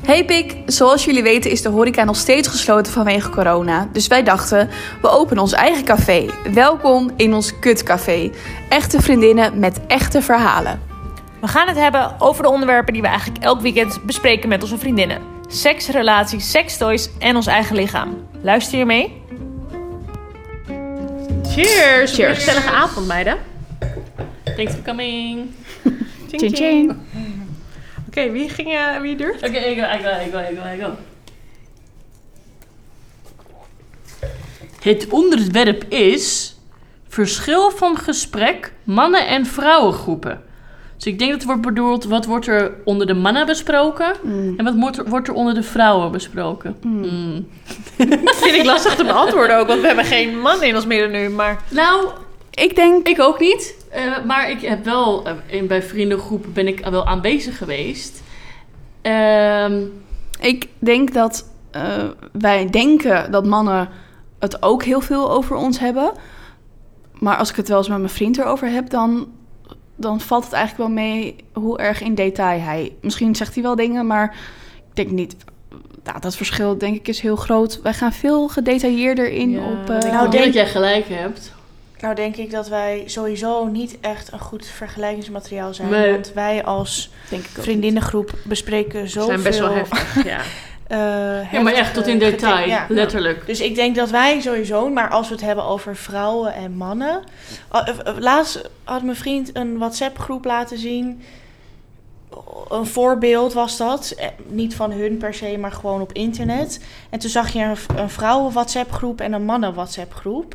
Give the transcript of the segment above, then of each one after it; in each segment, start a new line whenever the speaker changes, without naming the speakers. Hey Pik, zoals jullie weten is de horeca nog steeds gesloten vanwege corona. Dus wij dachten, we openen ons eigen café. Welkom in ons kutcafé. Echte vriendinnen met echte verhalen.
We gaan het hebben over de onderwerpen die we eigenlijk elk weekend bespreken met onze vriendinnen: seks, relaties, sekstoys en ons eigen lichaam. Luister je mee?
Cheers! Cheers.
Cheers.
Een gezellige avond, meiden. Thanks for coming. Ching, ching. Oké, wie ging, eh, wie duurt?
Oké, ik wil, ik wil, ik wil, ik wil, ik wil. Het onderwerp is verschil van gesprek mannen- en vrouwengroepen. Dus ik denk dat er wordt bedoeld wat wordt er onder de mannen besproken
Mm.
en wat wordt er, wordt er onder de vrouwen besproken. Mm.
Vind ik lastig te beantwoorden ook, want we hebben geen man in ons midden nu, maar...
Nou,
Ik denk,
ik ook niet, eh, maar ik heb wel eh, in, bij vriendengroepen ben ik wel aanwezig geweest. Ehm,
ik denk dat eh, wij denken dat mannen het ook heel veel over ons hebben. Maar als ik het wel eens met mijn vriend erover heb, dan, dan valt het eigenlijk wel mee hoe erg in detail hij. Misschien zegt hij wel dingen, maar ik denk niet. Ja, dat verschil denk ik is heel groot. Wij gaan veel gedetailleerder in
ja,
op.
ik
eh,
Nou,
denk
denk-
dat jij gelijk hebt.
Nou denk ik dat wij sowieso niet echt een goed vergelijkingsmateriaal zijn.
Nee.
Want wij als
denk ik ook.
vriendinnengroep bespreken
We
zoveel...
zijn best wel heftig, ja.
eh,
Ja, maar echt
heftige
tot in detail,
gete- ja.
letterlijk.
Dus ik denk dat wij sowieso, maar als we het hebben over vrouwen en mannen. Ah, eh, eh, Laatst had mijn vriend een WhatsApp-groep laten zien. Een voorbeeld was dat. Eh, Niet van hun per se, maar gewoon op internet. En toen zag je een, v- een vrouwen-WhatsApp-groep en een mannen-WhatsApp-groep.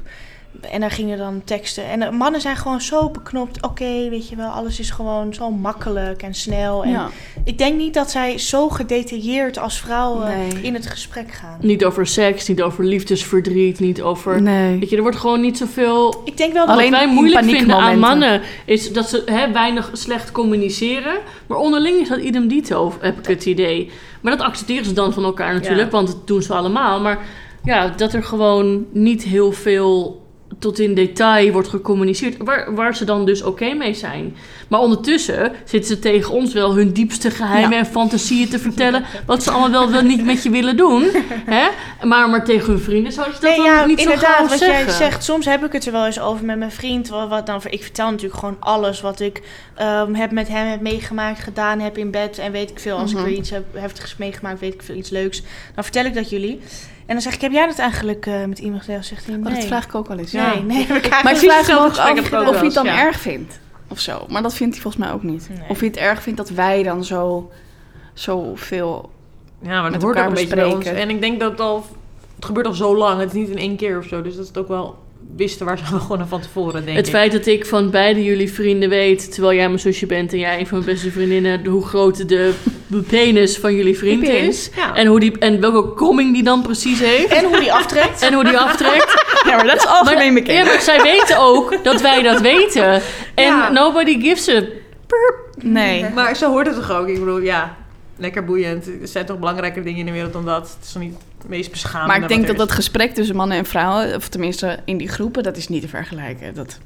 En daar gingen dan teksten. En de mannen zijn gewoon zo beknopt. Oké, weet je wel, alles is gewoon zo makkelijk en snel. En
Ja.
Ik denk niet dat zij zo gedetailleerd als vrouwen
Nee.
in het gesprek gaan.
Niet over seks, niet over liefdesverdriet, niet over...
Nee.
Weet je, er wordt gewoon niet zoveel...
Ik denk wel dat
Alleen
wat wij
in
moeilijk vinden aan
paniekmomenten.
mannen is dat ze hè, weinig slecht communiceren. Maar onderling is dat idem dito, heb ik het idee. Maar dat accepteren ze dan van elkaar natuurlijk,
Ja.
want dat doen ze allemaal. Maar ja, dat er gewoon niet heel veel tot in detail wordt gecommuniceerd. Waar, waar ze dan dus oké mee zijn. Maar ondertussen zitten ze tegen ons wel hun diepste geheimen en fantasieën te vertellen. Wat ze allemaal wel, wel niet met je willen doen. Hè? Maar, maar tegen hun vrienden zou je dat
Nee,
dan
ja,
niet zo
inderdaad,
gauw
wat
zeggen.
jij zegt. Soms heb ik het er wel eens over met mijn vriend. Wat, wat dan, voor- ik vertel natuurlijk gewoon alles wat ik ehm, heb met hem heb meegemaakt, gedaan heb in bed. En weet ik veel, als ik
Mhm.
weer iets heb, heftigs meegemaakt, weet ik veel, iets leuks. Dan vertel ik dat jullie. En dan zeg ik, heb jij dat eigenlijk eh, met iemand gedaan? Zegt hij, nee.
Maar Oh, dat vraag ik ook wel eens.
nee, nee, nee, heb ik
Maar ik
eigenlijk
vraag me
hetzelfde
ook
gesprek heb
af
ik ook
of
wel
hij het dan
eens, ja.
erg vindt. Of zo. Maar dat vindt hij volgens mij ook niet.
Nee.
Of hij het erg vindt dat wij dan zo, zo veel...
Ja, maar
Met
dat hoort ook een
elkaar
beetje bij ons.
bespreken.
En ik denk dat het al... Het gebeurt al zo lang. Het is niet in één keer of zo. Dus dat is het ook wel... Wisten waar ze aan begonnen van tevoren, denk
Het
ik.
feit dat ik van beide jullie vrienden weet, terwijl jij mijn zusje bent en jij een van mijn beste vriendinnen, hoe groot de penis van jullie vriend
Die penis,
is.
ja.
En, hoe die, en welke komming die dan precies heeft.
En hoe die aftrekt.
En hoe die aftrekt.
Ja, maar dat is algemeen
maar, ja,
bekend.
maar zij weten ook dat wij dat weten. En
Ja.
nobody gives a...
Nee.
Maar zo hoort het toch ook? Ik bedoel, ja, lekker boeiend. Er zijn toch belangrijker dingen in de wereld dan dat? Het is toch niet het meest beschamende
Maar ik denk dat
wat er
dat gesprek tussen mannen en vrouwen... of tenminste in die groepen, dat is niet te vergelijken. Dat
is?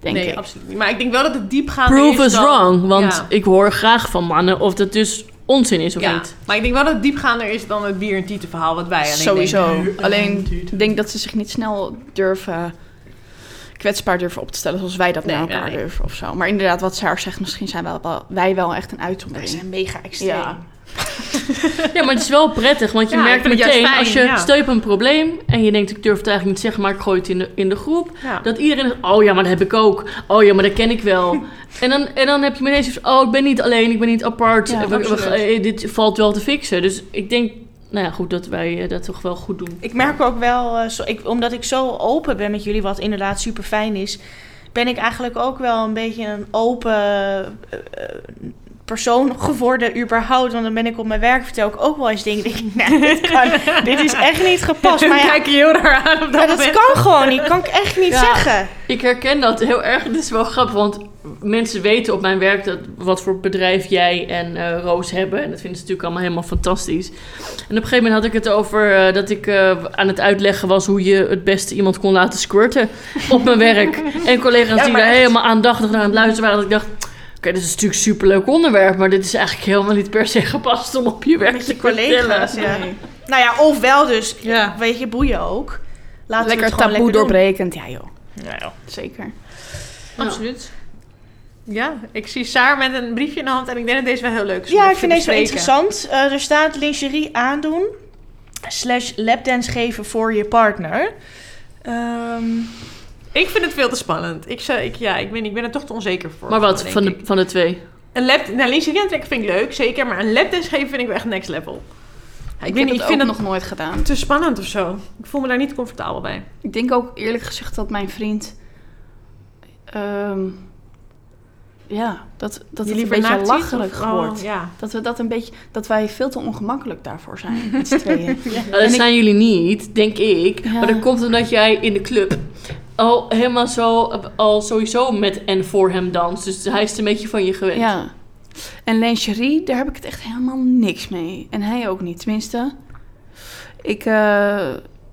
denk
Nee,
ik.
absoluut niet. Maar ik denk wel dat het diepgaande is
Prove us
dan-
wrong. Want
Ja.
ik hoor graag van mannen of dat dus onzin is of
Ja,
niet.
maar ik denk wel dat het diepgaander is dan het bier en tieten verhaal wat wij alleen
Sowieso.
denken.
Alleen ik denk dat ze zich niet snel durven... kwetsbaar durven op te stellen zoals wij dat
Nee,
naar elkaar
nee.
durven of zo. Maar inderdaad, wat Saar zegt, misschien zijn wij wel, wij wel echt een
Wij
uitzondering.
zijn mega extreem.
Ja.
Ja, maar het is wel prettig, want je
Ja, ik
merkt
vind het juist
meteen
fijn,
als je
ja.
steunt op een probleem en je denkt ik durf het eigenlijk niet te zeggen, maar ik gooi het in de, in de groep.
Ja.
Dat iedereen zegt, oh ja, maar dat heb ik ook. Oh ja, maar dat ken ik wel. en, dan, en dan heb je meteen zoiets van, oh ik ben niet alleen, ik ben niet apart.
Ja,
We- we-
absoluut.
eh, dit valt wel te fixen. Dus ik denk, nou ja, goed dat wij eh, dat toch wel goed doen.
Ik merk ook wel, eh, zo, ik, omdat ik zo open ben met jullie, wat inderdaad super fijn is, ben ik eigenlijk ook wel een beetje een open eh, eh, persoon geworden, überhaupt. Want dan ben ik op mijn werk, vertel ik ook wel eens dingen. Denk ik, nee, dit, kan, dit is echt niet gepast. Maar ja,
kijk je heel raar aan op dat
maar dat
moment.
kan gewoon niet, kan ik echt niet
Ja.
zeggen.
Ik herken dat heel erg. Dit is wel grappig, want mensen weten op mijn werk dat, wat voor bedrijf jij en eh, Roos hebben. En dat vinden ze natuurlijk allemaal helemaal fantastisch. En op een gegeven moment had ik het over eh, dat ik eh, aan het uitleggen was hoe je het beste iemand kon laten squirten op mijn werk. En collega's
Ja,
die
maar
daar
echt.
helemaal aandachtig naar aan het luisteren waren. Dat ik dacht, oké, dit is natuurlijk een superleuk onderwerp, maar dit is eigenlijk helemaal niet per se gepast om op je werk
Met
te
je collega's,
vertellen.
ja. Nou ja, ofwel dus,
Ja.
weet je, boeien ook. Laten we
lekker
het
taboe
gewoon lekker doen.
doorbrekend. Ja joh,
Ja, joh.
zeker.
Absoluut. Ja, ik zie Saar met een briefje in de hand en ik denk dat deze wel heel leuk is. om
Ja,
even
ik vind
te
deze wel
bespreken.
interessant. Eh, er staat lingerie aandoen slash lapdance geven voor je partner. Ehm,
Ik vind het veel te spannend. Ik, zou, ik, ja, ik, ben, ik ben er toch te onzeker voor.
Maar wat,
denk
van de,
ik.
van de twee?
Een lap, nou, lingerie aantrekken vind ik leuk, zeker. Maar een lapdance geven vind ik wel echt next level.
Ik,
weet
heb
niet,
het
ik
ook
vind dat-
nog nooit gedaan.
Te spannend of zo. Ik voel me daar niet comfortabel bij.
Ik denk ook eerlijk gezegd dat mijn vriend... ehm, ja, dat, dat het een beetje
naakt ziet of-
lacherig
oh,
wordt.
ja.
Dat, we dat, een beetje, dat wij veel te ongemakkelijk daarvoor zijn, met z'n tweeën.
Nou, dat
En ik-
zijn jullie niet, denk ik.
Ja.
Maar dat komt omdat jij in de club al helemaal zo, al sowieso met en voor hem danst. Dus hij is het een beetje van je gewend.
Ja. En lingerie, daar heb ik het echt helemaal niks mee. En hij ook niet, tenminste. Ik, eh,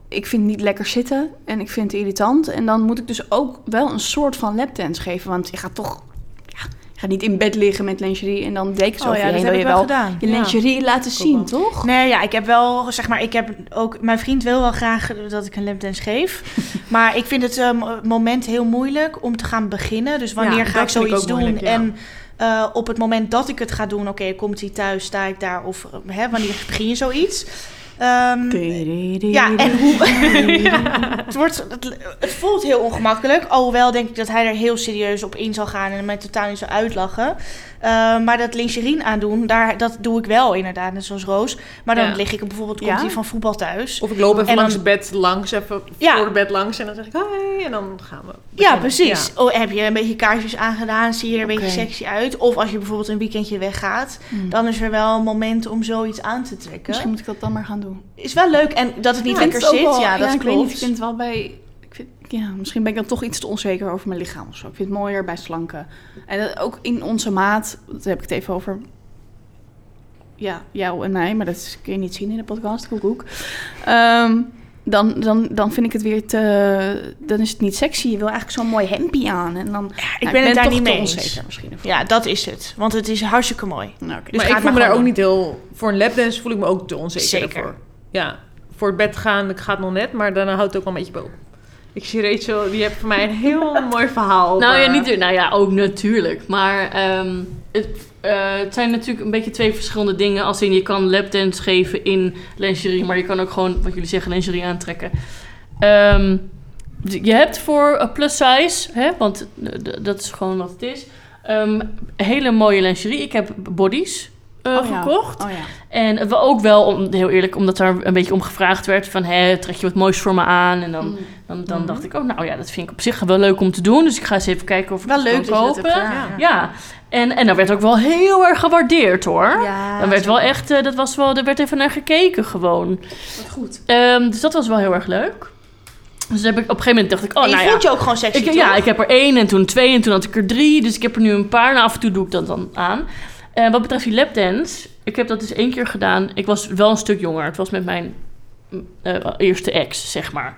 ik vind het niet lekker zitten en ik vind het irritant. En dan moet ik dus ook wel een soort van lapdance geven. Want je gaat toch ja, je gaat niet in bed liggen met lingerie en dan dekens
oh
over
ja,
je
dat
heen.
heb
Wil
ik
je
wel
wel
gedaan.
je
Ja.
lingerie laten
ook
zien,
wel.
toch?
Nee, ja, ik heb wel, zeg maar, ik heb ook, mijn vriend wil wel graag dat ik een lapdance geef. maar ik vind het eh, mo- moment heel moeilijk om te gaan beginnen. Dus wanneer
Ja,
ga
dat
ik
vind ik
zoiets
ook
doen?
moeilijk, ja.
En eh, op het moment dat ik het ga doen, oké, komt hij thuis, sta ik daar? Of eh, hè, wanneer begin je zoiets? Ehm, ja, en hoe... het, wordt, het, het voelt heel ongemakkelijk. Alhoewel denk ik dat hij er heel serieus op in zal gaan en mij totaal niet zou uitlachen. Eh, maar dat lingerie aandoen, daar, dat doe ik wel inderdaad, net zoals Roos. Maar dan
Ja.
lig ik op bijvoorbeeld, komt
Ja.
hij van voetbal thuis.
Of ik loop even
En
langs
dan-
het bed, langs even
Ja.
voor het bed langs. En dan zeg ik, hoi, en dan gaan we.
Ja,
beginnen.
precies. Oh, heb je een beetje kaarsjes aangedaan, zie je er een beetje
Oké.
sexy uit. Of als je bijvoorbeeld een weekendje weggaat,
Hmm.
dan is er wel een moment om zoiets aan te trekken.
Misschien moet ik dat dan maar gaan doen.
Is wel leuk en dat het niet lekker zit, ja, dat
ik
klopt.
ik vind het wel bij... Ik vind, ja, misschien ben ik dan toch iets te onzeker over mijn lichaam of zo. Ik vind het mooier bij slanken. En dat ook in onze maat, dat heb ik het even over... Ja, jou en mij, maar dat is- kun je niet zien in de podcast, koek koek. Ehm, dan, dan, dan vind ik het weer te... Dan is het niet sexy. Je wil eigenlijk zo'n mooi hempie aan. En dan,
Ja, ik
nou,
ben het daar
toch
niet
te
mee eens.
onzeker misschien. ervan.
Ja, dat is het. Want het is hartstikke mooi.
Nou, oké.
Dus
maar
ga
ik
het
voel me daar
maar
ook
gewoon
niet heel... Voor een lapdance voel ik me ook te onzeker
Zeker.
daarvoor. Ja, voor het bed gaan ik ga het nog net, maar daarna houdt het ook wel een beetje boven. Ik zie Rachel, die heeft voor mij een heel mooi verhaal.
Nou ja,
eh,
niet, nou ja, ook natuurlijk. Maar ehm, het, eh, het zijn natuurlijk een beetje twee verschillende dingen. Als in je kan lapdance geven in lingerie, maar je kan ook gewoon, wat jullie zeggen, lingerie aantrekken. Ehm, d- je hebt voor eh, plus size, hè, want d- d- dat is gewoon wat het is, ehm, hele mooie lingerie. Ik heb bodies eh,
Oh ja.
gekocht.
Oh ja.
En we ook wel, om, heel eerlijk, omdat daar een beetje om gevraagd werd van... Hè, trek je wat moois voor me aan? En dan,
Hmm.
dan,
Mhm.
dan dacht ik, oh nou ja, dat vind ik op zich wel leuk om te doen. Dus ik ga eens even kijken of ik
Wel
het
leuk
kan
dat je
kopen.
dat hebt gedaan.
Ja.
Ja.
ja, en, en dat werd ook wel heel erg gewaardeerd hoor.
Ja,
Dat werd wel echt, eh, dat was wel, er werd even naar gekeken gewoon.
Wat goed.
Ehm, dus dat was wel heel erg leuk. Dus heb ik, op een gegeven moment dacht ik, oh
en je
nou ja.
voelt je ook gewoon sexy,
Ik,
toch?
ja, ik heb er één en toen twee en toen had ik er drie. Dus ik heb er nu een paar. Nou, af en toe doe ik dat dan aan. Eh, wat betreft die lapdance. Ik heb dat dus één keer gedaan. Ik was wel een stuk jonger. Het was met mijn mm, eh, eerste ex, zeg maar.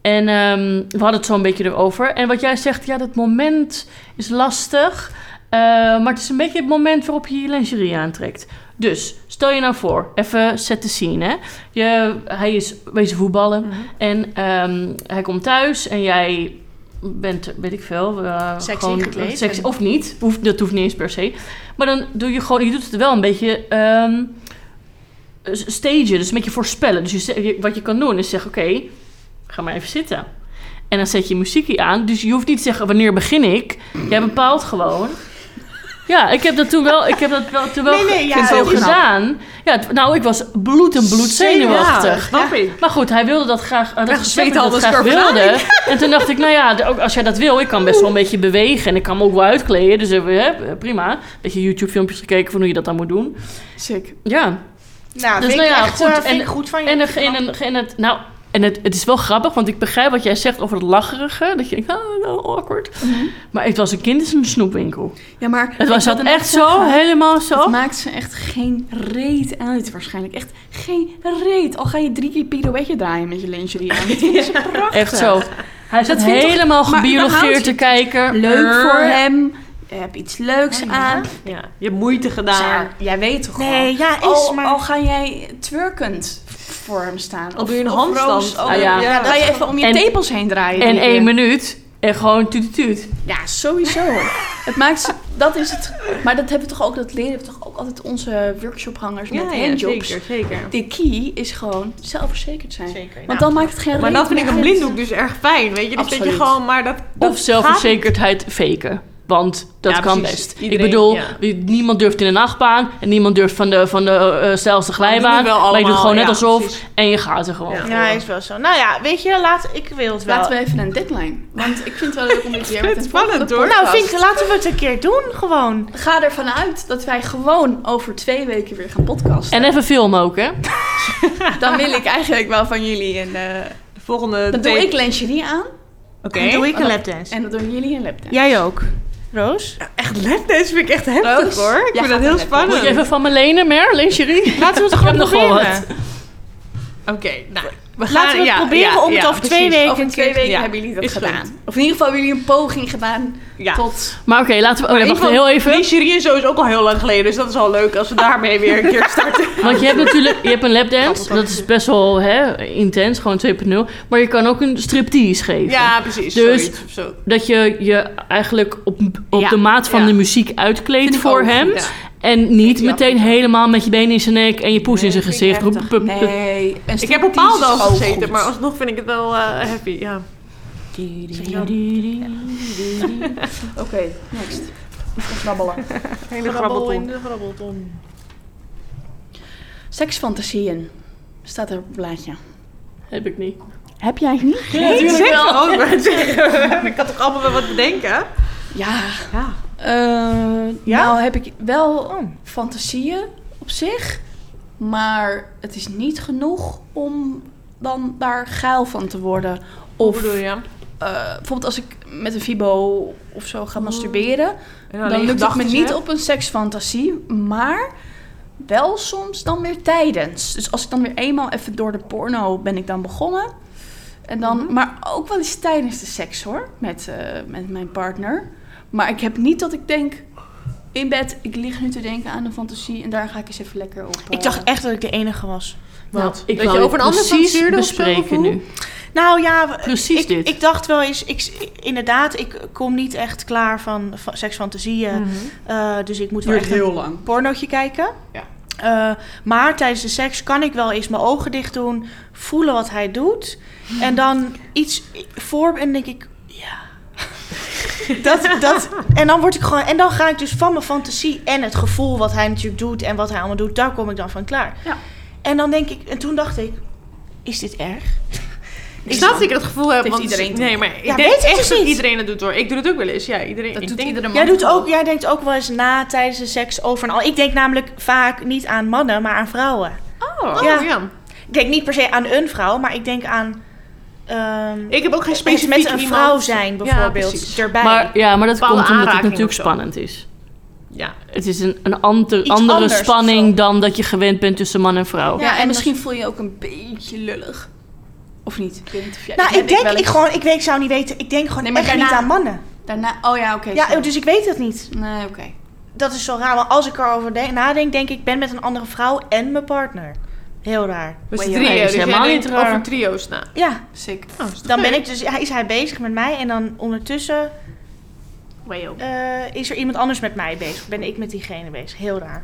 En ehm, we hadden het zo een beetje erover. En wat jij zegt, ja, dat moment is lastig. Eh, maar het is een beetje het moment waarop je je lingerie aantrekt. Dus, stel je nou voor, even set the scene, hè. Je, hij is wezen voetballen en ehm, hij komt thuis en jij bent, weet ik veel, eh,
Sexy
gewoon
gekleed.
sexy- of niet, hoeft, dat hoeft niet eens per se. Maar dan doe je gewoon, je doet het wel een beetje ehm stagen, dus een beetje voorspellen. Dus je, ze- je- wat je kan doen is zeggen, oké, ga maar even zitten. En dan zet je muziekje aan, dus je hoeft niet te zeggen wanneer begin ik. Jij bepaalt gewoon. Ja, ik heb dat toen wel, ik heb dat wel, toen wel
Nee, nee, ja,
ge-
het
zo
is-
gedaan. Ja, het- nou, ik was bloed en bloed
Ja,
zenuwachtig.
snap ik.
Maar goed, hij wilde dat graag. Hij
Echt
dacht dat ik dat
zweethalve
graag
scarf aan.
wilde. En toen dacht ik, nou ja, d- ook als jij dat wil, ik kan best wel een beetje bewegen. En ik kan me ook wel uitkleden. Dus eh, hè, prima. Een beetje YouTube-filmpjes gekeken van hoe je dat dan moet doen.
Sick.
Ja.
Nou,
Dus
vind
nou
ik
ja,
echt,
goed.
eh, vind
En-
ik goed van je.
En, er, en, en, en het, nou, en het, het is wel grappig, want ik begrijp wat jij zegt over het lacherige. Dat je denkt, ah, nou, awkward. Maar het was een kind in een snoepwinkel.
Ja, maar...
Het was
Mhm. ik
dat
wilde net
echt zo,
zeggen-
helemaal zo.
Het maakt ze echt geen reet uit waarschijnlijk. Echt geen reet. Al ga je drie keer pirouetje draaien met je lingerie aan. Dat vinden ze prachtig.
Echt zo. Hij zat
vindt toch-
helemaal
maar dan
gebiologeerd
houdt
te
je-
kijken.
Leuk voor hem. heb iets leuks
Oh,
aan.
Ja, je hebt moeite
Nou.
gedaan.
Saar, jij weet toch wel.
Nee, ja, is
al,
maar...
al ga jij twerkend voor hem staan.
Al doe je een
Of- of
handstand.
roos- oh,
Ah,
ja.
ja.
Ja,
ga
dat-
je even om je
En-
tepels heen draaien.
En
drie keer.
één minuut. En gewoon tuut tuut, tuut.
Ja, sowieso. het maakt ze- dat is het. Maar dat hebben we toch ook, dat leren we toch ook altijd onze workshophangers
Ja,
met
ja,
handjobs.
zeker, zeker.
De key is gewoon zelfverzekerd zijn.
Zeker.
Want dan maakt het geen
Maar
reet
dat vind ik
meer
een
uit.
blinddoek dus erg fijn, weet je. Dus dat je
Absoluut.
gewoon maar dat... dat
Of zelfverzekerdheid faken. Want dat
Ja,
kan
precies.
best. ik
Iedereen,
bedoel,
ja.
wie- niemand durft in een achtbaan. En niemand durft van de, van de eh, snelste
Oh, Die
glijbaan.
doen wel
maar je doet
allemaal,
gewoon net
ja,
alsof.
precies.
En je gaat er gewoon.
Ja.
voor.
Ja, is wel zo. Nou ja, weet je, laat, ik wil het wel.
Laten we even een deadline. Want ik vind het wel leuk om dit weer met
Het
een
is spannend,
volgende
hoor.
Nou,
podcast-
vind ik, laten we het een keer doen, gewoon.
Ga ervan uit dat wij gewoon over twee weken weer gaan podcasten.
En even filmen ook, hè?
dan wil ik eigenlijk wel van jullie een... eh,
De volgende
dan doe
tape-
ik lingerie aan
Oké.
Dan doe ik een
Oh.
lapdance.
en dan doen jullie een lapdance.
Jij ook. Roos?
Echt lapdance vind ik echt heftig
Roos,
hoor. Ik
jij
vind
gaat een
dat heel
lapdance.
Moet
spannend.
je even van me lenen, Mer? Lingerie?
Laten we het gewoon
nog wel
proberen.
Oké, nou. We gaan,
Laten we het
ja,
proberen
ja,
om het
ja,
over twee
precies.
weken
Over
een
twee
keer...
weken
ja,
hebben jullie dat
is goed.
gedaan. Of in ieder geval hebben jullie een poging gedaan
Ja.
tot...
Maar oké, laten we... Oh, nee, wacht
In
heel
ieder
even.
geval, Lingerie en zo is ook al heel lang geleden, dus dat is al leuk als we daarmee weer een keer starten.
Want je hebt natuurlijk je hebt een lapdance. Dat is best wel hè, intens, gewoon 2.0. Maar je kan ook een striptease geven.
Ja, precies.
Dus-
zoiets of zo.
Dat je je eigenlijk op, op
Ja,
de maat van
ja.
de muziek uitkleedt
Vind ik
voor
ook
hem.
Ja.
En niet
Ja.
meteen helemaal met je benen in zijn nek en je poes in zijn
vind ik
gezicht. Roep,
heftig.
pup, pup.
Nee, een
Ik heb op paaldoos gezeten, maar alsnog vind ik het wel eh, happy. Ja.
Oké, next. Even Grabbelen.
Hele
Grabbel
grabbelton.
in de grabbelton.
Seksfantasieën. Staat er op het blaadje.
Heb ik niet.
Heb jij niet?
Ja,
Ik
natuurlijk.
zeg gewoon, maar zeg- Ik had toch allemaal wel wat bedenken?
Ja.
Ja.
Eh,
Ja?
Nou heb ik wel
Oh.
fantasieën op zich. Maar het is niet genoeg om dan daar geil van te worden.
Hoe
Of
bedoel je?
eh, bijvoorbeeld als ik met een fibo of zo ga masturberen...
En
Nou,
dan
alleen
lukt het me
gedachten,
niet
hè?
op een seksfantasie, maar wel soms dan weer tijdens. Dus als ik dan weer eenmaal even door de porno ben ik dan begonnen. En dan,
Mhm.
Maar ook wel eens tijdens de seks hoor, met, eh, met mijn partner. Maar ik heb niet dat ik denk, in bed, ik lig nu te denken aan een fantasie en daar ga ik eens even lekker op.
Ik
eh,
dacht echt dat ik de enige was.
Nou, ik
Dat
wil
je
je
over een ander
precies
censuurde of zo,
bespreken
of hoe?
nu.
Nou ja, w-
Precies
ik,
dit.
ik dacht wel eens, ik, inderdaad, ik kom niet echt klaar van va- seksfantasieën.
Hmm.
Eh, dus ik moet wel echt een
lang.
pornootje kijken.
Ja.
Eh, maar tijdens de seks kan ik wel eens mijn ogen dicht doen, voelen wat hij doet. En dan iets voor en denk ik, ja. dat, dat, en dan word ik gewoon, en dan ga ik dus van mijn fantasie en het gevoel wat hij natuurlijk doet en wat hij allemaal doet, daar kom ik dan van klaar.
Ja.
En dan denk ik, en toen dacht ik, is dit erg?
Ik snap dat ik dat gevoel heb,
heeft
want
iedereen toch?
nee, maar ik
Ja,
denk
weet ik
echt
dus
dat
niet.
iedereen het doet hoor. Ik doe het ook wel eens. Ja, iedereen.
dat
ik
doet
denk-
iedere man.
Jij, doet
toch
ook, jij denkt ook wel eens na tijdens de seks over en al. Ik denk namelijk vaak niet aan mannen, maar aan vrouwen.
Oh,
Ja.
ja.
Ik denk niet per se aan een vrouw, maar ik denk aan... ehm,
Ik heb ook geen
met
specifiek
een
iemand.
vrouw zijn bijvoorbeeld
precies.
erbij.
Maar, ja, maar dat
Bepaalde
komt omdat het
aanraking
natuurlijk
of zo.
spannend is.
Ja.
Het is een, een ander,
Iets
andere
anders of zo.
spanning dan dat je gewend bent tussen man en vrouw.
Ja,
Ja,
en,
en
misschien voel je je ook een beetje lullig. Of niet? Ik weet niet of jij...
nou,
heb
ik denk,
wel
ik,
eens-
gewoon, ik, weet, ik zou niet weten. Ik denk gewoon
Nee, maar
echt
daarna-
niet aan mannen.
Daarna... Oh ja, oké.
Ja,
sorry.
dus ik weet het niet.
Nee, oké.
Dat is zo raar, want als ik erover de- nadenk, denk ik, ben met een andere vrouw en mijn partner. Heel raar.
Met z'n
Nee,
drieën.
dat
Dus
is helemaal
helemaal
niet
niet
raar.
over trio's na.
Ja,
Sick.
Nou, is toch
dan ben
leuk.
ik dus, hij- is hij bezig met mij en dan ondertussen
Wayo.
eh, is er iemand anders met mij bezig. Ben ik met diegene bezig. Heel raar.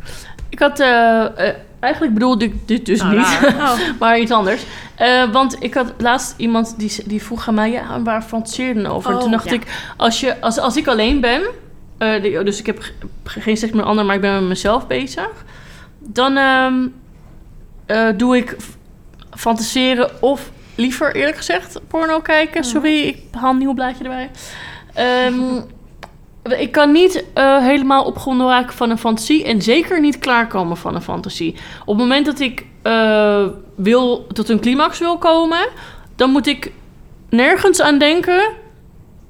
Ik had... eh, eh, eigenlijk bedoelde ik dit dus
Nou,
niet.
raar.
Maar iets anders. Eh, want ik had laatst iemand die, die vroeg aan mij, ja, waar fantaseer je dan over?
Oh,
Toen dacht
ja.
ik, als, je, als, als ik alleen ben, eh, die- dus ik heb ge- geen seks met een ander, maar ik ben met mezelf bezig, dan ehm, eh, doe ik f- fantaseren of liever eerlijk gezegd porno kijken.
Mhm.
Sorry, ik haal een nieuw blaadje erbij. Ehm, ik kan niet eh, helemaal opgewonden raken van een fantasie. En zeker niet klaarkomen van een fantasie. Op het moment dat ik eh, wil, tot een climax wil komen, dan moet ik nergens aan denken.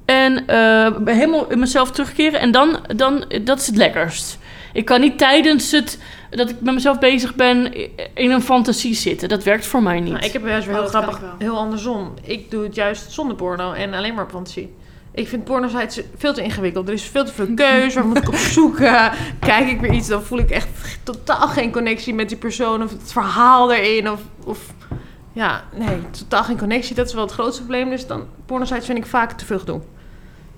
En eh, helemaal in mezelf terugkeren. En dan, dan, dat is het lekkerst. Ik kan niet tijdens het, dat ik met mezelf bezig ben, in een fantasie zitten. Dat werkt voor mij niet.
Nou, ik heb juist weer
Oh,
heel
dat kan
grappig,
ik wel.
heel andersom. Ik doe het juist zonder porno en alleen maar op fantasie. Ik vind porno sites veel te ingewikkeld. Er is veel te veel keuze. Waar moet ik op zoeken? Kijk ik weer iets, dan voel ik echt totaal geen connectie met die persoon of het verhaal erin. Of, of ja, nee, totaal geen connectie. Dat is wel het grootste probleem. Dus dan porno sites vind ik vaak te veel gedoe.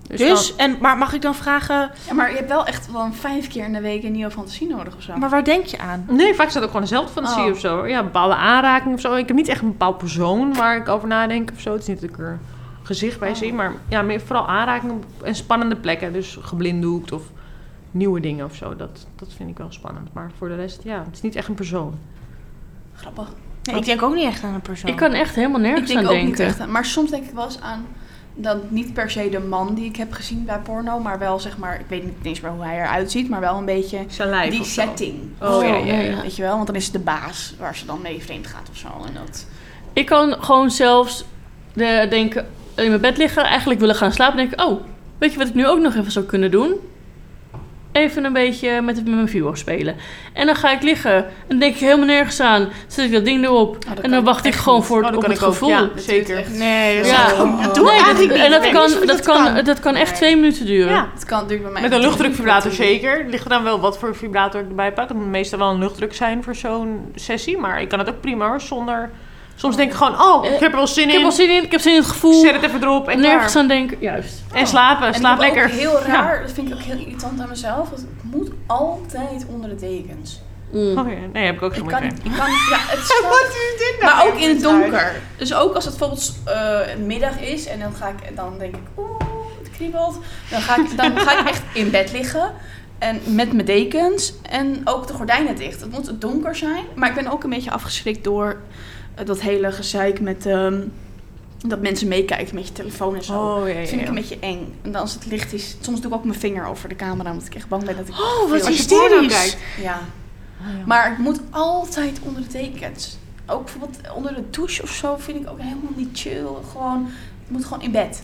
Dus, en, maar mag ik dan vragen,
Ja, maar je hebt wel echt wel een vijf keer in de week een nieuwe fantasie nodig of zo.
maar waar denk je aan?
dan- nee, vaak staat ook gewoon dezelfde fantasie
Oh.
of zo. hoor. Ja, een bepaalde aanraking of zo. Ik heb niet echt een bepaald persoon waar ik over nadenk of zo. Het is niet dat ik er gezicht bij
Oh.
zie, maar ja, meer vooral aanrakingen en spannende plekken. Dus geblinddoekt of nieuwe dingen of zo. Dat, dat vind ik wel spannend. Maar voor de rest, ja, het is niet echt een persoon.
Grappig.
Nee, ik denk ook niet echt aan een persoon.
Ik kan echt helemaal
Ik
nergens
denk
aan
ook
denken.
niet echt aan. Maar soms denk ik wel eens aan dat niet per se de man die ik heb gezien bij porno, maar wel zeg maar, ik weet niet eens meer hoe hij eruit ziet, maar wel een beetje
Zijn lijf
die
of zo.
setting.
Oh, ja, ja,
ja.
Weet je wel, want dan is het de baas waar ze dan mee vreemd gaat of zo. En dat...
Ik kan gewoon zelfs de, denken, in mijn bed liggen, eigenlijk willen gaan slapen. En denken, oh, weet je wat ik nu ook nog even zou kunnen doen? Even een beetje met, met mijn viewer spelen. En dan ga ik liggen. En dan denk ik helemaal nergens aan. Zet ik dat ding erop.
Oh, dat
en
kan
dan wacht ik gewoon voor
Oh,
het,
dat
op
kan
het
ik ook,
gevoel.
ja.
Dat
Zeker.
duurt echt-
Nee, dat
Ja.
is-
Oh.
dat doe ik
Nee, dat-
eigenlijk niet.
en dat,
Nee,
kan,
niet
dat,
hoe
kan, dat kan echt
Nee.
twee minuten duren.
Ja.
Het kan, het duurt bij mij
Met
echt
een luchtdrukvibrator
minuten.
zeker. Het ligt er dan wel wat voor vibrator ik erbij pak. Het moet meestal wel een luchtdruk zijn voor zo'n sessie. Maar ik kan het ook prima hoor, zonder... Soms denk ik gewoon, oh, ik heb er wel zin
Ik
in.
heb wel zin in, ik heb zin in het
Ik
gevoel.
zet het even erop en klaar.
nergens aan denken. Juist.
En slapen,
En
slaap
ik heb
lekker.
Ook heel raar, dat vind ik ook heel irritant aan mezelf. Want het moet altijd onder de dekens.
Mm.
Oh ja, nee, heb ik ook geen
Ik kan,
moeite mee.
ik kan, ja, het staat-
nou?
maar ook in het donker. Dus ook als het bijvoorbeeld eh, middag is en dan ga ik, dan denk ik, oeh, het kriebelt. Dan ga ik, dan ga ik echt in bed liggen. En met mijn dekens en ook de gordijnen dicht. Het moet donker zijn. Maar ik ben ook een beetje afgeschrikt door eh, dat hele gezeik met ehm, dat mensen meekijken met je telefoon en zo.
Oh ja,
Dat vind ik een beetje eng. En dan als het licht is, soms doe ik ook mijn vinger over de camera, omdat ik echt bang ben dat ik.
Oh, wat
Als
je porno
hysterisch.
kijkt.
Ja. Maar het moet altijd onder de dekens. Ook bijvoorbeeld onder de douche of zo vind ik ook helemaal niet chill. Gewoon, het moet gewoon in bed.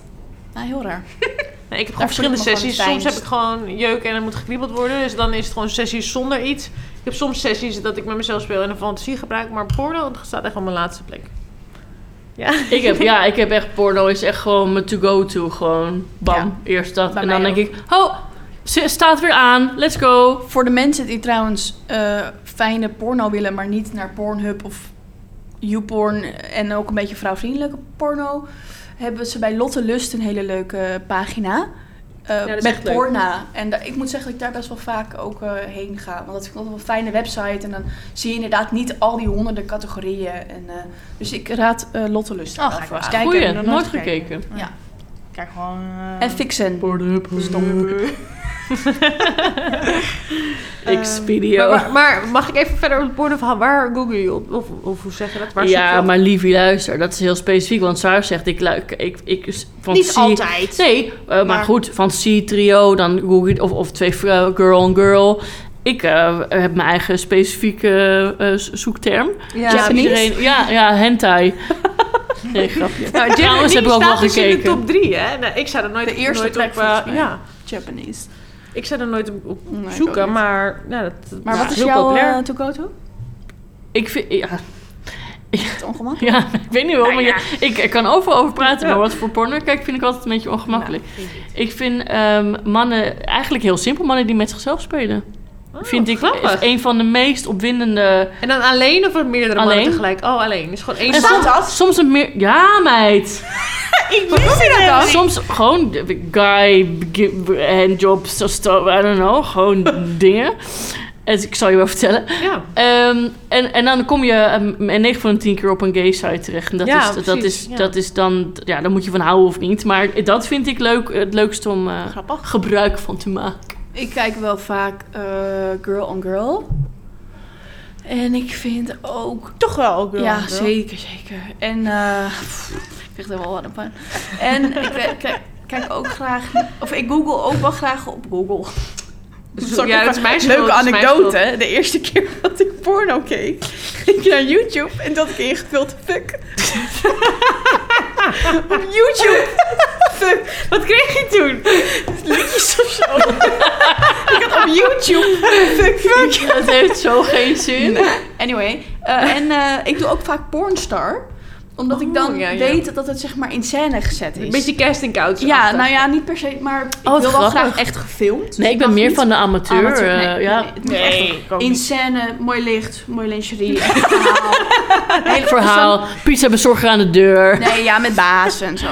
Nou, heel raar.
Nee, ik heb
Daar
gewoon verschillende
voel ik me
sessies.
gewoon fijn.
Soms heb ik gewoon jeuk en er moet geknibbeld worden. Dus dan is het gewoon sessies zonder iets. Ik heb soms sessies dat ik met mezelf speel en een fantasie gebruik. Maar porno dat staat echt op mijn laatste plek. Ja.
Ik heb, ja, ik heb echt porno is echt gewoon mijn to-go-to. Gewoon bam, eerst dat.
bij
En dan
mij
denk ik, oh, ze staat weer aan, let's go.
Voor de mensen die trouwens eh, fijne porno willen, maar niet naar Pornhub of YouPorn en ook een beetje vrouwvriendelijke porno, hebben ze bij Lotte Lust een hele leuke pagina. eh,
dat is echt
met
leuk.
porna. En da- ik moet zeggen dat ik daar best wel vaak ook eh, heen ga. Want dat vind ik altijd wel een fijne website. En dan zie je inderdaad niet al die honderden categorieën. En, eh, dus ik raad eh, Lotte Lust.
Oh,
wel
ga ik
voor
wel eens
aan.
kijken.
Goeie,
heb ik nog
nooit
gekeken.
gekeken.
Kijk gewoon... eh,
En Fixen.
Xpedia.
Maar, maar- maar mag ik even verder op het pornoverhaal? Waar google je op? Of, of hoe zeg je dat? Waar zoek je
ja,
op?
maar lieve luister, dat is heel specifiek. Want Saar zegt, ik luik, ik, ik, fantasie...
Niet altijd.
Nee, eh, maar,
Maar-
goed, fantasie, trio, dan Google je- of, of twee vrouwen, girl on girl. Ik eh, heb mijn eigen specifieke eh, zo- zoekterm.
Ja,
Dus
Japanese?
iedereen- ja, ja, hentai. nee, grapje.
Nou, Japanese
Trouwens, heb ik ook
staat
wel
dus in de
gekeken.
top drie, hè? Nou, ik zou er nooit,
De eerste
nooit
plek
op... eh,
volgens mij.
ja,
Japanese. Oh
ik zou er nooit op op
Nee, ik ook
zoeken,
niet.
maar... Nou, dat, dat
Maar wat is
heel
jouw
populair.
eh, to-go-to?
Ik vind... Ja,
Het ongemak?
ja, ik weet niet
Nou
waarom. maar je- ik, ik kan overal over praten, maar wat voor porno kijk vind ik altijd een beetje ongemakkelijk. ik vind ehm, mannen... Eigenlijk heel simpel, mannen die met zichzelf spelen.
Oh,
vind ik
grappig.
een van de meest opwindende...
En dan alleen of met meerdere mannen
Alleen.
tegelijk? Oh, alleen. Dus gewoon één
En
man.
soms, soms een meer... Ja, meid.
Ik wist het al.
Soms gewoon de- guy, gi- handjobs, so- so- I don't know. Gewoon dingen. Het- Ik zal je wel vertellen.
Ja,
Ehm, en, en dan kom je ehm, en 9 van de 10 keer op een gay site terecht. En dat,
Ja,
is, dat,
precies,
is,
ja.
dat is dan... Ja, daar moet je van houden of niet. Maar dat vind ik leuk, het leukste om eh,
Grappig.
gebruik van te maken.
Ik kijk wel vaak eh, Girl on Girl. En ik vind ook...
Toch wel ook wel.
ja, zeker, zeker. En eh, pff, ik krijg er wel wat een pijn. En ik eh, kijk, kijk ook graag... Of ik google ook wel graag op Google.
dus,
Sorry,
ja dat is mijn schuld.
Leuke
dat is mijn schuld.
anekdote. De eerste keer dat ik porno keek, ging ik naar YouTube en dat ik ingevuld fuck. Op YouTube. Fuck.
Wat kreeg je toen?
Liedjes of zo. ik had op YouTube. Fuck, fuck.
dat heeft zo geen zin.
Anyway. eh, en eh, ik doe ook vaak Pornstar. Omdat
Oh,
ik dan
ja, ja.
weet dat het zeg maar in scène gezet is.
Een beetje casting couch.
ja, nou ja, niet per se, maar ik
Oh, wat
wil wel
grappig.
graag echt gefilmd.
Nee, ik ben
Mag
meer
niet
van de amateur.
amateur,
eh,
nee,
ja.
nee, het moet echt In scène, mooi licht, mooi lingerie. Hele
Verhaal, pizza bezorger aan de deur.
Nee, ja, met baas en zo.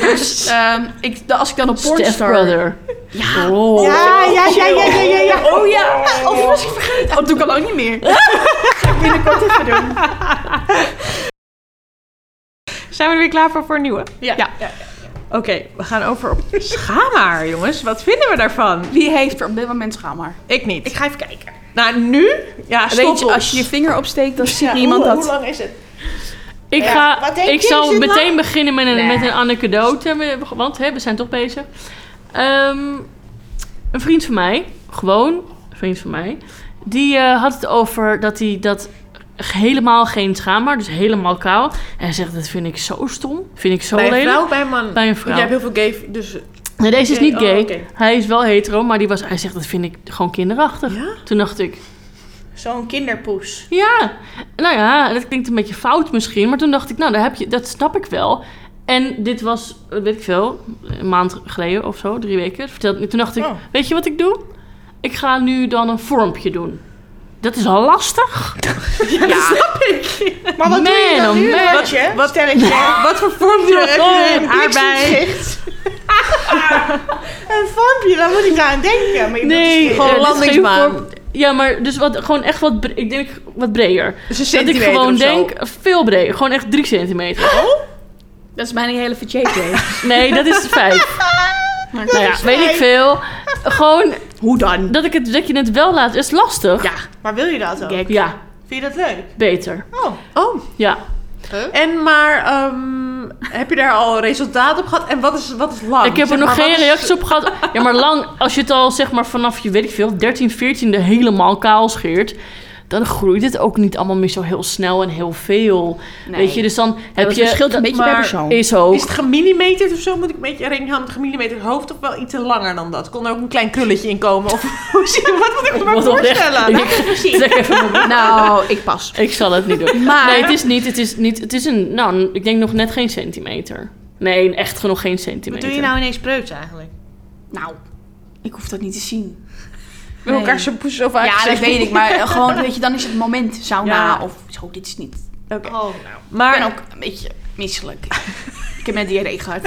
Dus ehm, ik, als ik dan op
Step
Pornstar...
brother.
Ja.
Oh.
Ja, ja, ja, ja, ja, ja, ja.
Oh ja, of was ik vergeten? Oh, dat doe ik al ook niet meer. Ga ik binnenkort even doen.
Zijn we er weer klaar voor, voor een nieuwe?
Ja.
Oké, we gaan over op schaamhaar, jongens. Wat vinden we daarvan?
Wie heeft er op dit moment schaamhaar?
Ik niet. Ik ga even kijken. Nou, nu? Ja,
Weet
stop
je,
ons.
als je je vinger opsteekt, dan ziet
Ja,
niemand
hoe,
dat.
Hoe lang is het?
Ik,
Ja,
ga,
wat denk
ik
je? Is
zal
dit
meteen beginnen met een, met een anekdote, we- want hè, we zijn toch bezig. Ehm, een vriend van mij, gewoon een vriend van mij, die eh, had het over dat hij dat helemaal geen schaamhaar, dus helemaal kaal. En hij zegt, dat vind ik zo stom, vind ik zo
bij een
lelijk.
vrouw, bij een man.
Bij een vrouw.
Jij hebt heel veel gay, dus...
Nee, deze is
Oké,
niet
oh,
gay.
oké.
Hij is wel hetero, maar die was, hij zegt, dat vind ik gewoon kinderachtig.
Ja?
Toen dacht ik,
Zo'n kinderpoes.
Ja, nou ja, dat klinkt een beetje fout misschien. Maar toen dacht ik, nou, daar heb je, dat snap ik wel. En dit was, eh, weet ik veel, een maand geleden of zo, drie weken. Vertelde, toen dacht ik,
Oh.
weet je wat ik doe? Ik ga nu dan een vormpje doen. Dat is al lastig.
Maar wat doe je
Man,
dan
oh
nu?
man.
Wat je? Wat stelletje?
Wat voor vorm
Een bliksemschicht. Een vormpje, daar moet ik aan denken. Maar je moet dus
eh, dit is geen
landingsbaan.
vorm- Ja, maar dus wat, gewoon echt wat, bre- ik denk wat breder.
Dus een
Dat ik
centimeter
gewoon
of zo.
denk, veel breder. Gewoon echt drie centimeter.
Dat is mijn hele JJ.
Nee, dat is vijf.
Maar-
nou ja,
is
weet ik
vijf.
veel. Gewoon
Hoe dan?
dat, ik het, dat je het wel laat, is lastig.
Ja.
Maar wil je dat ook?
Gek.
ja
Vind je dat leuk?
beter.
Oh.
Oh,
Ja,
en maar ehm, heb je daar al resultaat op gehad? En wat is, wat is lang?
ik heb er
Oh, Zeg
nog
maar,
geen
wat is-
reacties op gehad. Ja, maar lang, als je het al zeg maar vanaf je, weet ik veel, 13, 14e helemaal kaal scheert, dan groeit het ook niet allemaal meer zo heel snel en heel veel.
Nee.
Weet je, dus dan heb
dat
je...
verschilt een
dat
beetje
maar
per persoon.
Is ook.
Is het gemillimeterd of zo? Moet ik een beetje rekening houden met gemillimeterd hoofd? Of wel iets te langer dan dat? Kon er ook een klein krulletje in komen? Of hoe zie je- wat moet ik me maar
Wat oprecht.
voorstellen?
Ik, trek even mijn-
Nou, ik pas.
ik zal het niet doen.
Maar-
Nee, het is niet. Het is, niet, het is een, nou, een- ik denk nog net geen centimeter. Nee, echt nog geen
Wat
centimeter.
doe je nou ineens preuts eigenlijk?
Nou, ik hoef dat niet te zien.
Met elkaar zijn poes over
Ja, dat weet ik. Maar gewoon, weet je, dan is het moment sauna
Ja.
of zo. Dit is niet...
Oké.
Oh, nou.
Ik
Maar
ben ook een beetje misselijk. ik heb net diarree gehad.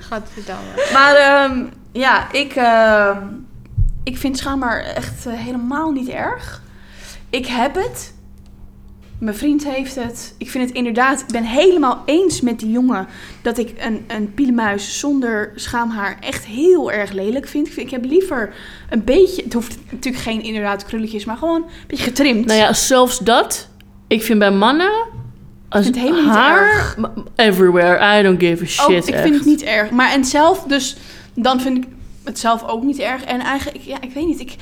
Gadverdamme.
Maar ehm, ja, ik, ehm, ik vind schaamhaar echt eh, helemaal niet erg. Ik heb het. Mijn vriend heeft het. Ik vind het inderdaad... Ik ben helemaal eens met die jongen... dat ik een, een pielemuis zonder schaamhaar echt heel erg lelijk vind. Ik, vind- ik heb liever een beetje... Het hoeft natuurlijk geen inderdaad krulletjes... maar gewoon een beetje getrimd.
Nou ja, zelfs dat. Ik vind bij mannen... Als
vind het helemaal niet
haar,
erg.
m- Everywhere. I don't give a shit.
Ook, ik vind
echt.
het niet erg. Maar en zelf, dus dan vind ik het zelf ook niet erg. En eigenlijk, ja, ik weet niet. Ik,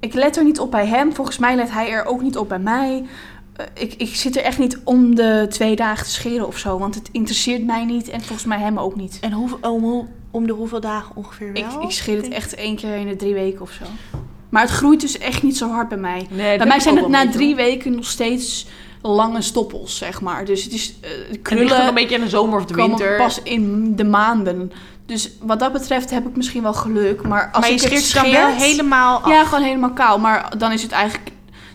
ik let er niet op bij hem. Volgens mij let hij er ook niet op bij mij. Eh, ik, ik zit er echt niet om de twee dagen te scheren of zo. Want het interesseert mij niet en volgens mij hem ook niet.
En hoe, om, hoe- om de hoeveel dagen ongeveer
Ik,
wel?
ik scheer het echt één keer in de drie weken of zo. Maar het groeit dus echt niet zo hard bij mij.
Nee,
bij mij zijn het na drie weken nog steeds lange stoppels, zeg maar. Dus het is eh, krullen.
een beetje in de zomer of de
komen
winter.
pas in de maanden. Dus wat dat betreft heb ik misschien wel geluk. Maar als
maar je
ik het
scheert het dan wel helemaal af.
Ja, gewoon helemaal kaal. Maar dan is het eigenlijk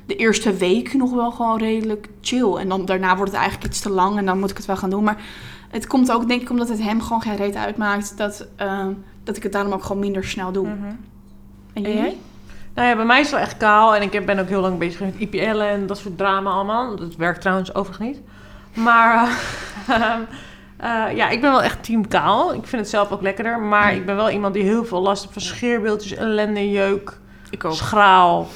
de eerste week nog wel gewoon redelijk chill. En dan daarna wordt het eigenlijk iets te lang en dan moet ik het wel gaan doen. Maar het komt ook denk ik omdat het hem gewoon geen reet uitmaakt. Dat, eh, dat ik het daarom ook gewoon minder snel doe. Mm. En
En
jij?
jij? Mhm. Nou ja, bij mij is het wel echt kaal. En ik heb- ben ook heel lang bezig met IPL en dat soort drama allemaal. Dat werkt trouwens overigens niet. Maar eh, eh, ja, ik ben wel echt team kaal. Ik vind het zelf ook lekkerder. Maar
Mhm.
ik ben wel iemand die heel veel last heeft van scheerbeeldjes, ellende, jeuk,
Ik
schraal,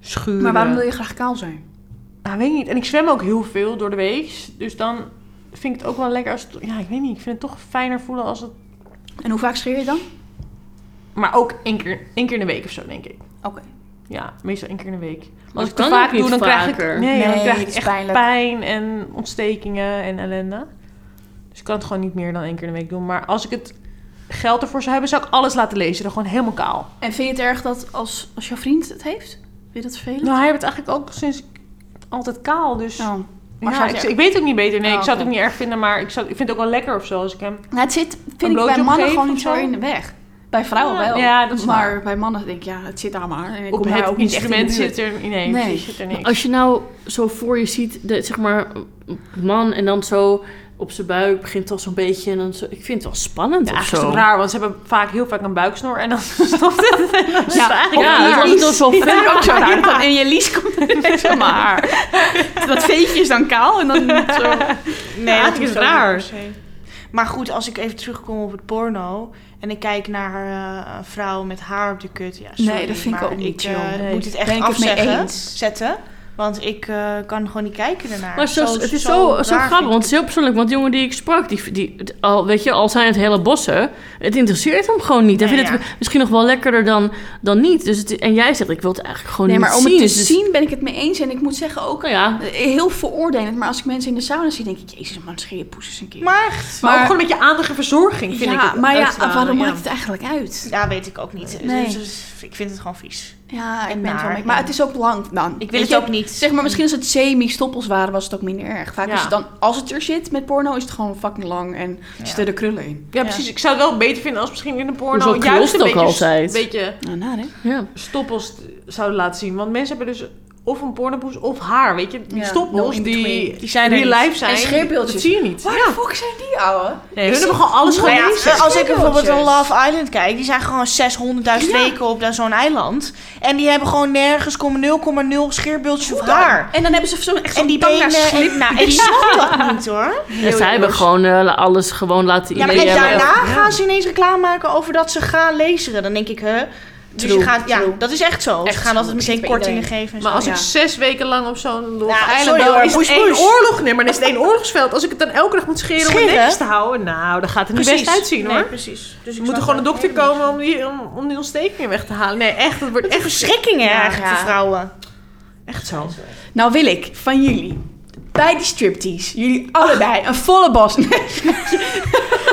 schuren.
Maar waarom wil je graag kaal zijn?
Nou, weet ik niet. En ik zwem ook heel veel door de week. Dus dan vind ik het ook wel lekker als... het- Ja, ik weet niet. Ik vind het toch fijner voelen als het...
En hoe vaak scheer je dan?
Maar ook één keer, één keer in de week of zo, denk ik.
Oké.
Ja, meestal één keer in de week. Maar
Maar
als ik
dat
te
kan
vaak
ook niet
doe, dan krijg
vaker.
ik, nee,
Nee,
dan krijg
het
ik
is
echt
pijnlijk.
pijn en ontstekingen en ellende. Dus ik kan het gewoon niet meer dan één keer in de week doen. Maar als ik het geld ervoor zou hebben, zou ik alles laten lezen. Dan gewoon helemaal kaal.
En vind je het erg dat als, als jouw vriend het heeft? Vind je dat vervelend?
Nou, hij heeft het eigenlijk ook sinds ik altijd kaal. Dus
Nou, Maar
Ja,
zou
ik,
het-
ik weet ook niet beter. Nee,
Oh,
ik zou
oké.
het ook niet erg vinden, maar ik, zou, ik vind het ook wel lekker of zo als ik hem...
Nou, het zit,
Een
vind ik, bij
blowjob
mannen
geven
gewoon niet
of
zo Ah.
zo?
in de weg. Bij vrouwen
Ja,
wel.
ja, dat is
maar
waar.
bij mannen denk ik, ja, het zit daar maar. En ik
Op
kom daar
het
ook niet echt in de
instrument
buurt.
zit er... Nee,
Nee.
precies, zit er niks.
Als je nou zo voor je ziet, de, zeg maar, een man en dan zo op zijn buik begint al zo'n beetje. En dan zo, ik vind het wel spannend
Ja,
of
eigenlijk
zo.
is het raar, want ze hebben vaak heel vaak een buiksnor en dan stopt het.
Ja,
eigenlijk
of
ja,
een
dat is
lies.
toch zo
Dat vind ik
ver.
ook zo raar. dat in je lies komt ineens zomaar haar. Dat veetje is dan kaal en dan zo.
Nee,
Ja,
dat
het is
hoeft ook
raar.
niet per se. Maar goed, als ik even terugkom op het porno en ik kijk naar eh, een vrouw met haar op de kut. Ja, sorry,
Nee, dat vind ik
maar
ook niet,
Ik
joh.
eh,
Nee.
moet het
Ben
echt
ik het mee
afzeggen,
eens.
zetten. Want ik eh, kan gewoon niet kijken ernaar.
Maar zo, het is zo, zo,
raar vind
grappig,
ik
want het is heel persoonlijk. Want de jongen die ik sprak, die, die, al, weet je, al zijn het hele bossen, het interesseert hem gewoon niet. Hij
Nee,
vindt het misschien nog wel lekkerder dan, dan niet. Dus het, en jij zegt, ik wil het eigenlijk gewoon
Nee,
niet
maar om
zien.
het te
Dus het is-
zien ben ik het mee eens. En ik moet zeggen ook,
Nou ja,
eh, heel veroordelend. Maar als ik mensen in de sauna zie, denk ik, jezus man, schreeuw je poes eens een keer.
Maar
Maar ook gewoon met je aandacht en verzorging vind ik
ja,
het
maar ja,
uitstralen,
waarom
ja.
maakt het eigenlijk uit?
ja, weet ik ook niet.
Nee.
Dus, dus ik vind het gewoon vies.
Ja, ik
En
ben het wel
naar,
mee. Maar
ja.
het is ook lang dan.
Ik
Weet
wil het
je,
ook niet.
Zeg maar, misschien als het semi-stoppels waren, was het ook minder erg. Vaak
Ja.
is het dan, als het er zit met porno, is het gewoon fucking lang en zitten er krullen in.
Ja, precies. Ik zou het wel beter vinden als misschien in een porno
Hoezo
juist
klopt
een
ook
beetje,
altijd?
een beetje
Nou, naar hè?
ja.
stoppels zouden laten zien. Want mensen hebben dus of een pornopoes of haar, weet je. Die
Ja, no
stoppels
in
die,
between.
die
zijn er
real
niet.
life zijn,
En scheerbeeldjes.
dat zie je niet.
Waar
Ja.
de fuck zijn die, ouwe?
Nee, hun hebben gewoon alles
Nou ja,
gelezen.
als ik bijvoorbeeld een
Spiegeltjes.
Love Island kijk, die zijn gewoon 600.000 weken op daar zo'n eiland. En die hebben gewoon nergens komen 0,0 scheerbeeldjes of haar.
En dan hebben ze zo echt
En die benen... En, nou, ik snap dat niet hoor.
En zij hebben gewoon eh, alles gewoon laten
Ja, maar en
iedereen hebben.
daarna gaan ze ineens reclame maken over dat ze gaan lezen. Dan denk ik, hè? Dus
True,
je gaat, ja,
true.
dat is echt zo.
Echt
ze gaan
zo,
altijd
dat
meteen
is bij
kortingen
iedereen.
geven. En
Maar
zo.
als
Ja.
ik zes weken lang op zo'n Love
Ja,
Island
sorry
bouw,
hoor,
is het
poes,
één
poes.
oorlog. Nee, maar dan is het één oorlogsveld. Als ik het dan elke dag moet scheren, om
Scheren?
het netjes te houden, nou, dan gaat het niet best uitzien
Nee,
hoor.
precies. Dus
Er moet er gewoon een dokter komen om die, om, om die ontsteking weg te halen. Nee, echt, dat wordt
Echt
echt,
verschrikkingen
Ja,
eigenlijk
ja.
voor vrouwen.
echt zo.
Nou wil ik van jullie, bij die striptease, jullie allebei een volle bos.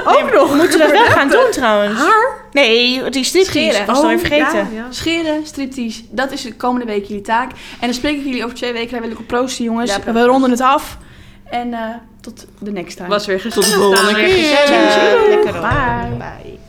Ook nog. Moeten we dat wel gaan doen trouwens?
Haar? Oh,
Nee, die striptease.
Scheren.
Ik was het alweer vergeten.
Oh, Ja, ja.
Scheren, striptease, dat is de komende week jullie taak. En dan spreek ik jullie over twee weken. Daar wil ik op proosten, jongens.
Ja,
We ronden het af. En eh, tot de next time.
Was weer gezellig.
Tot de volgende
Dames en heren.
Gezellig. Eh, Lekker hoor.
Bye.
Bye.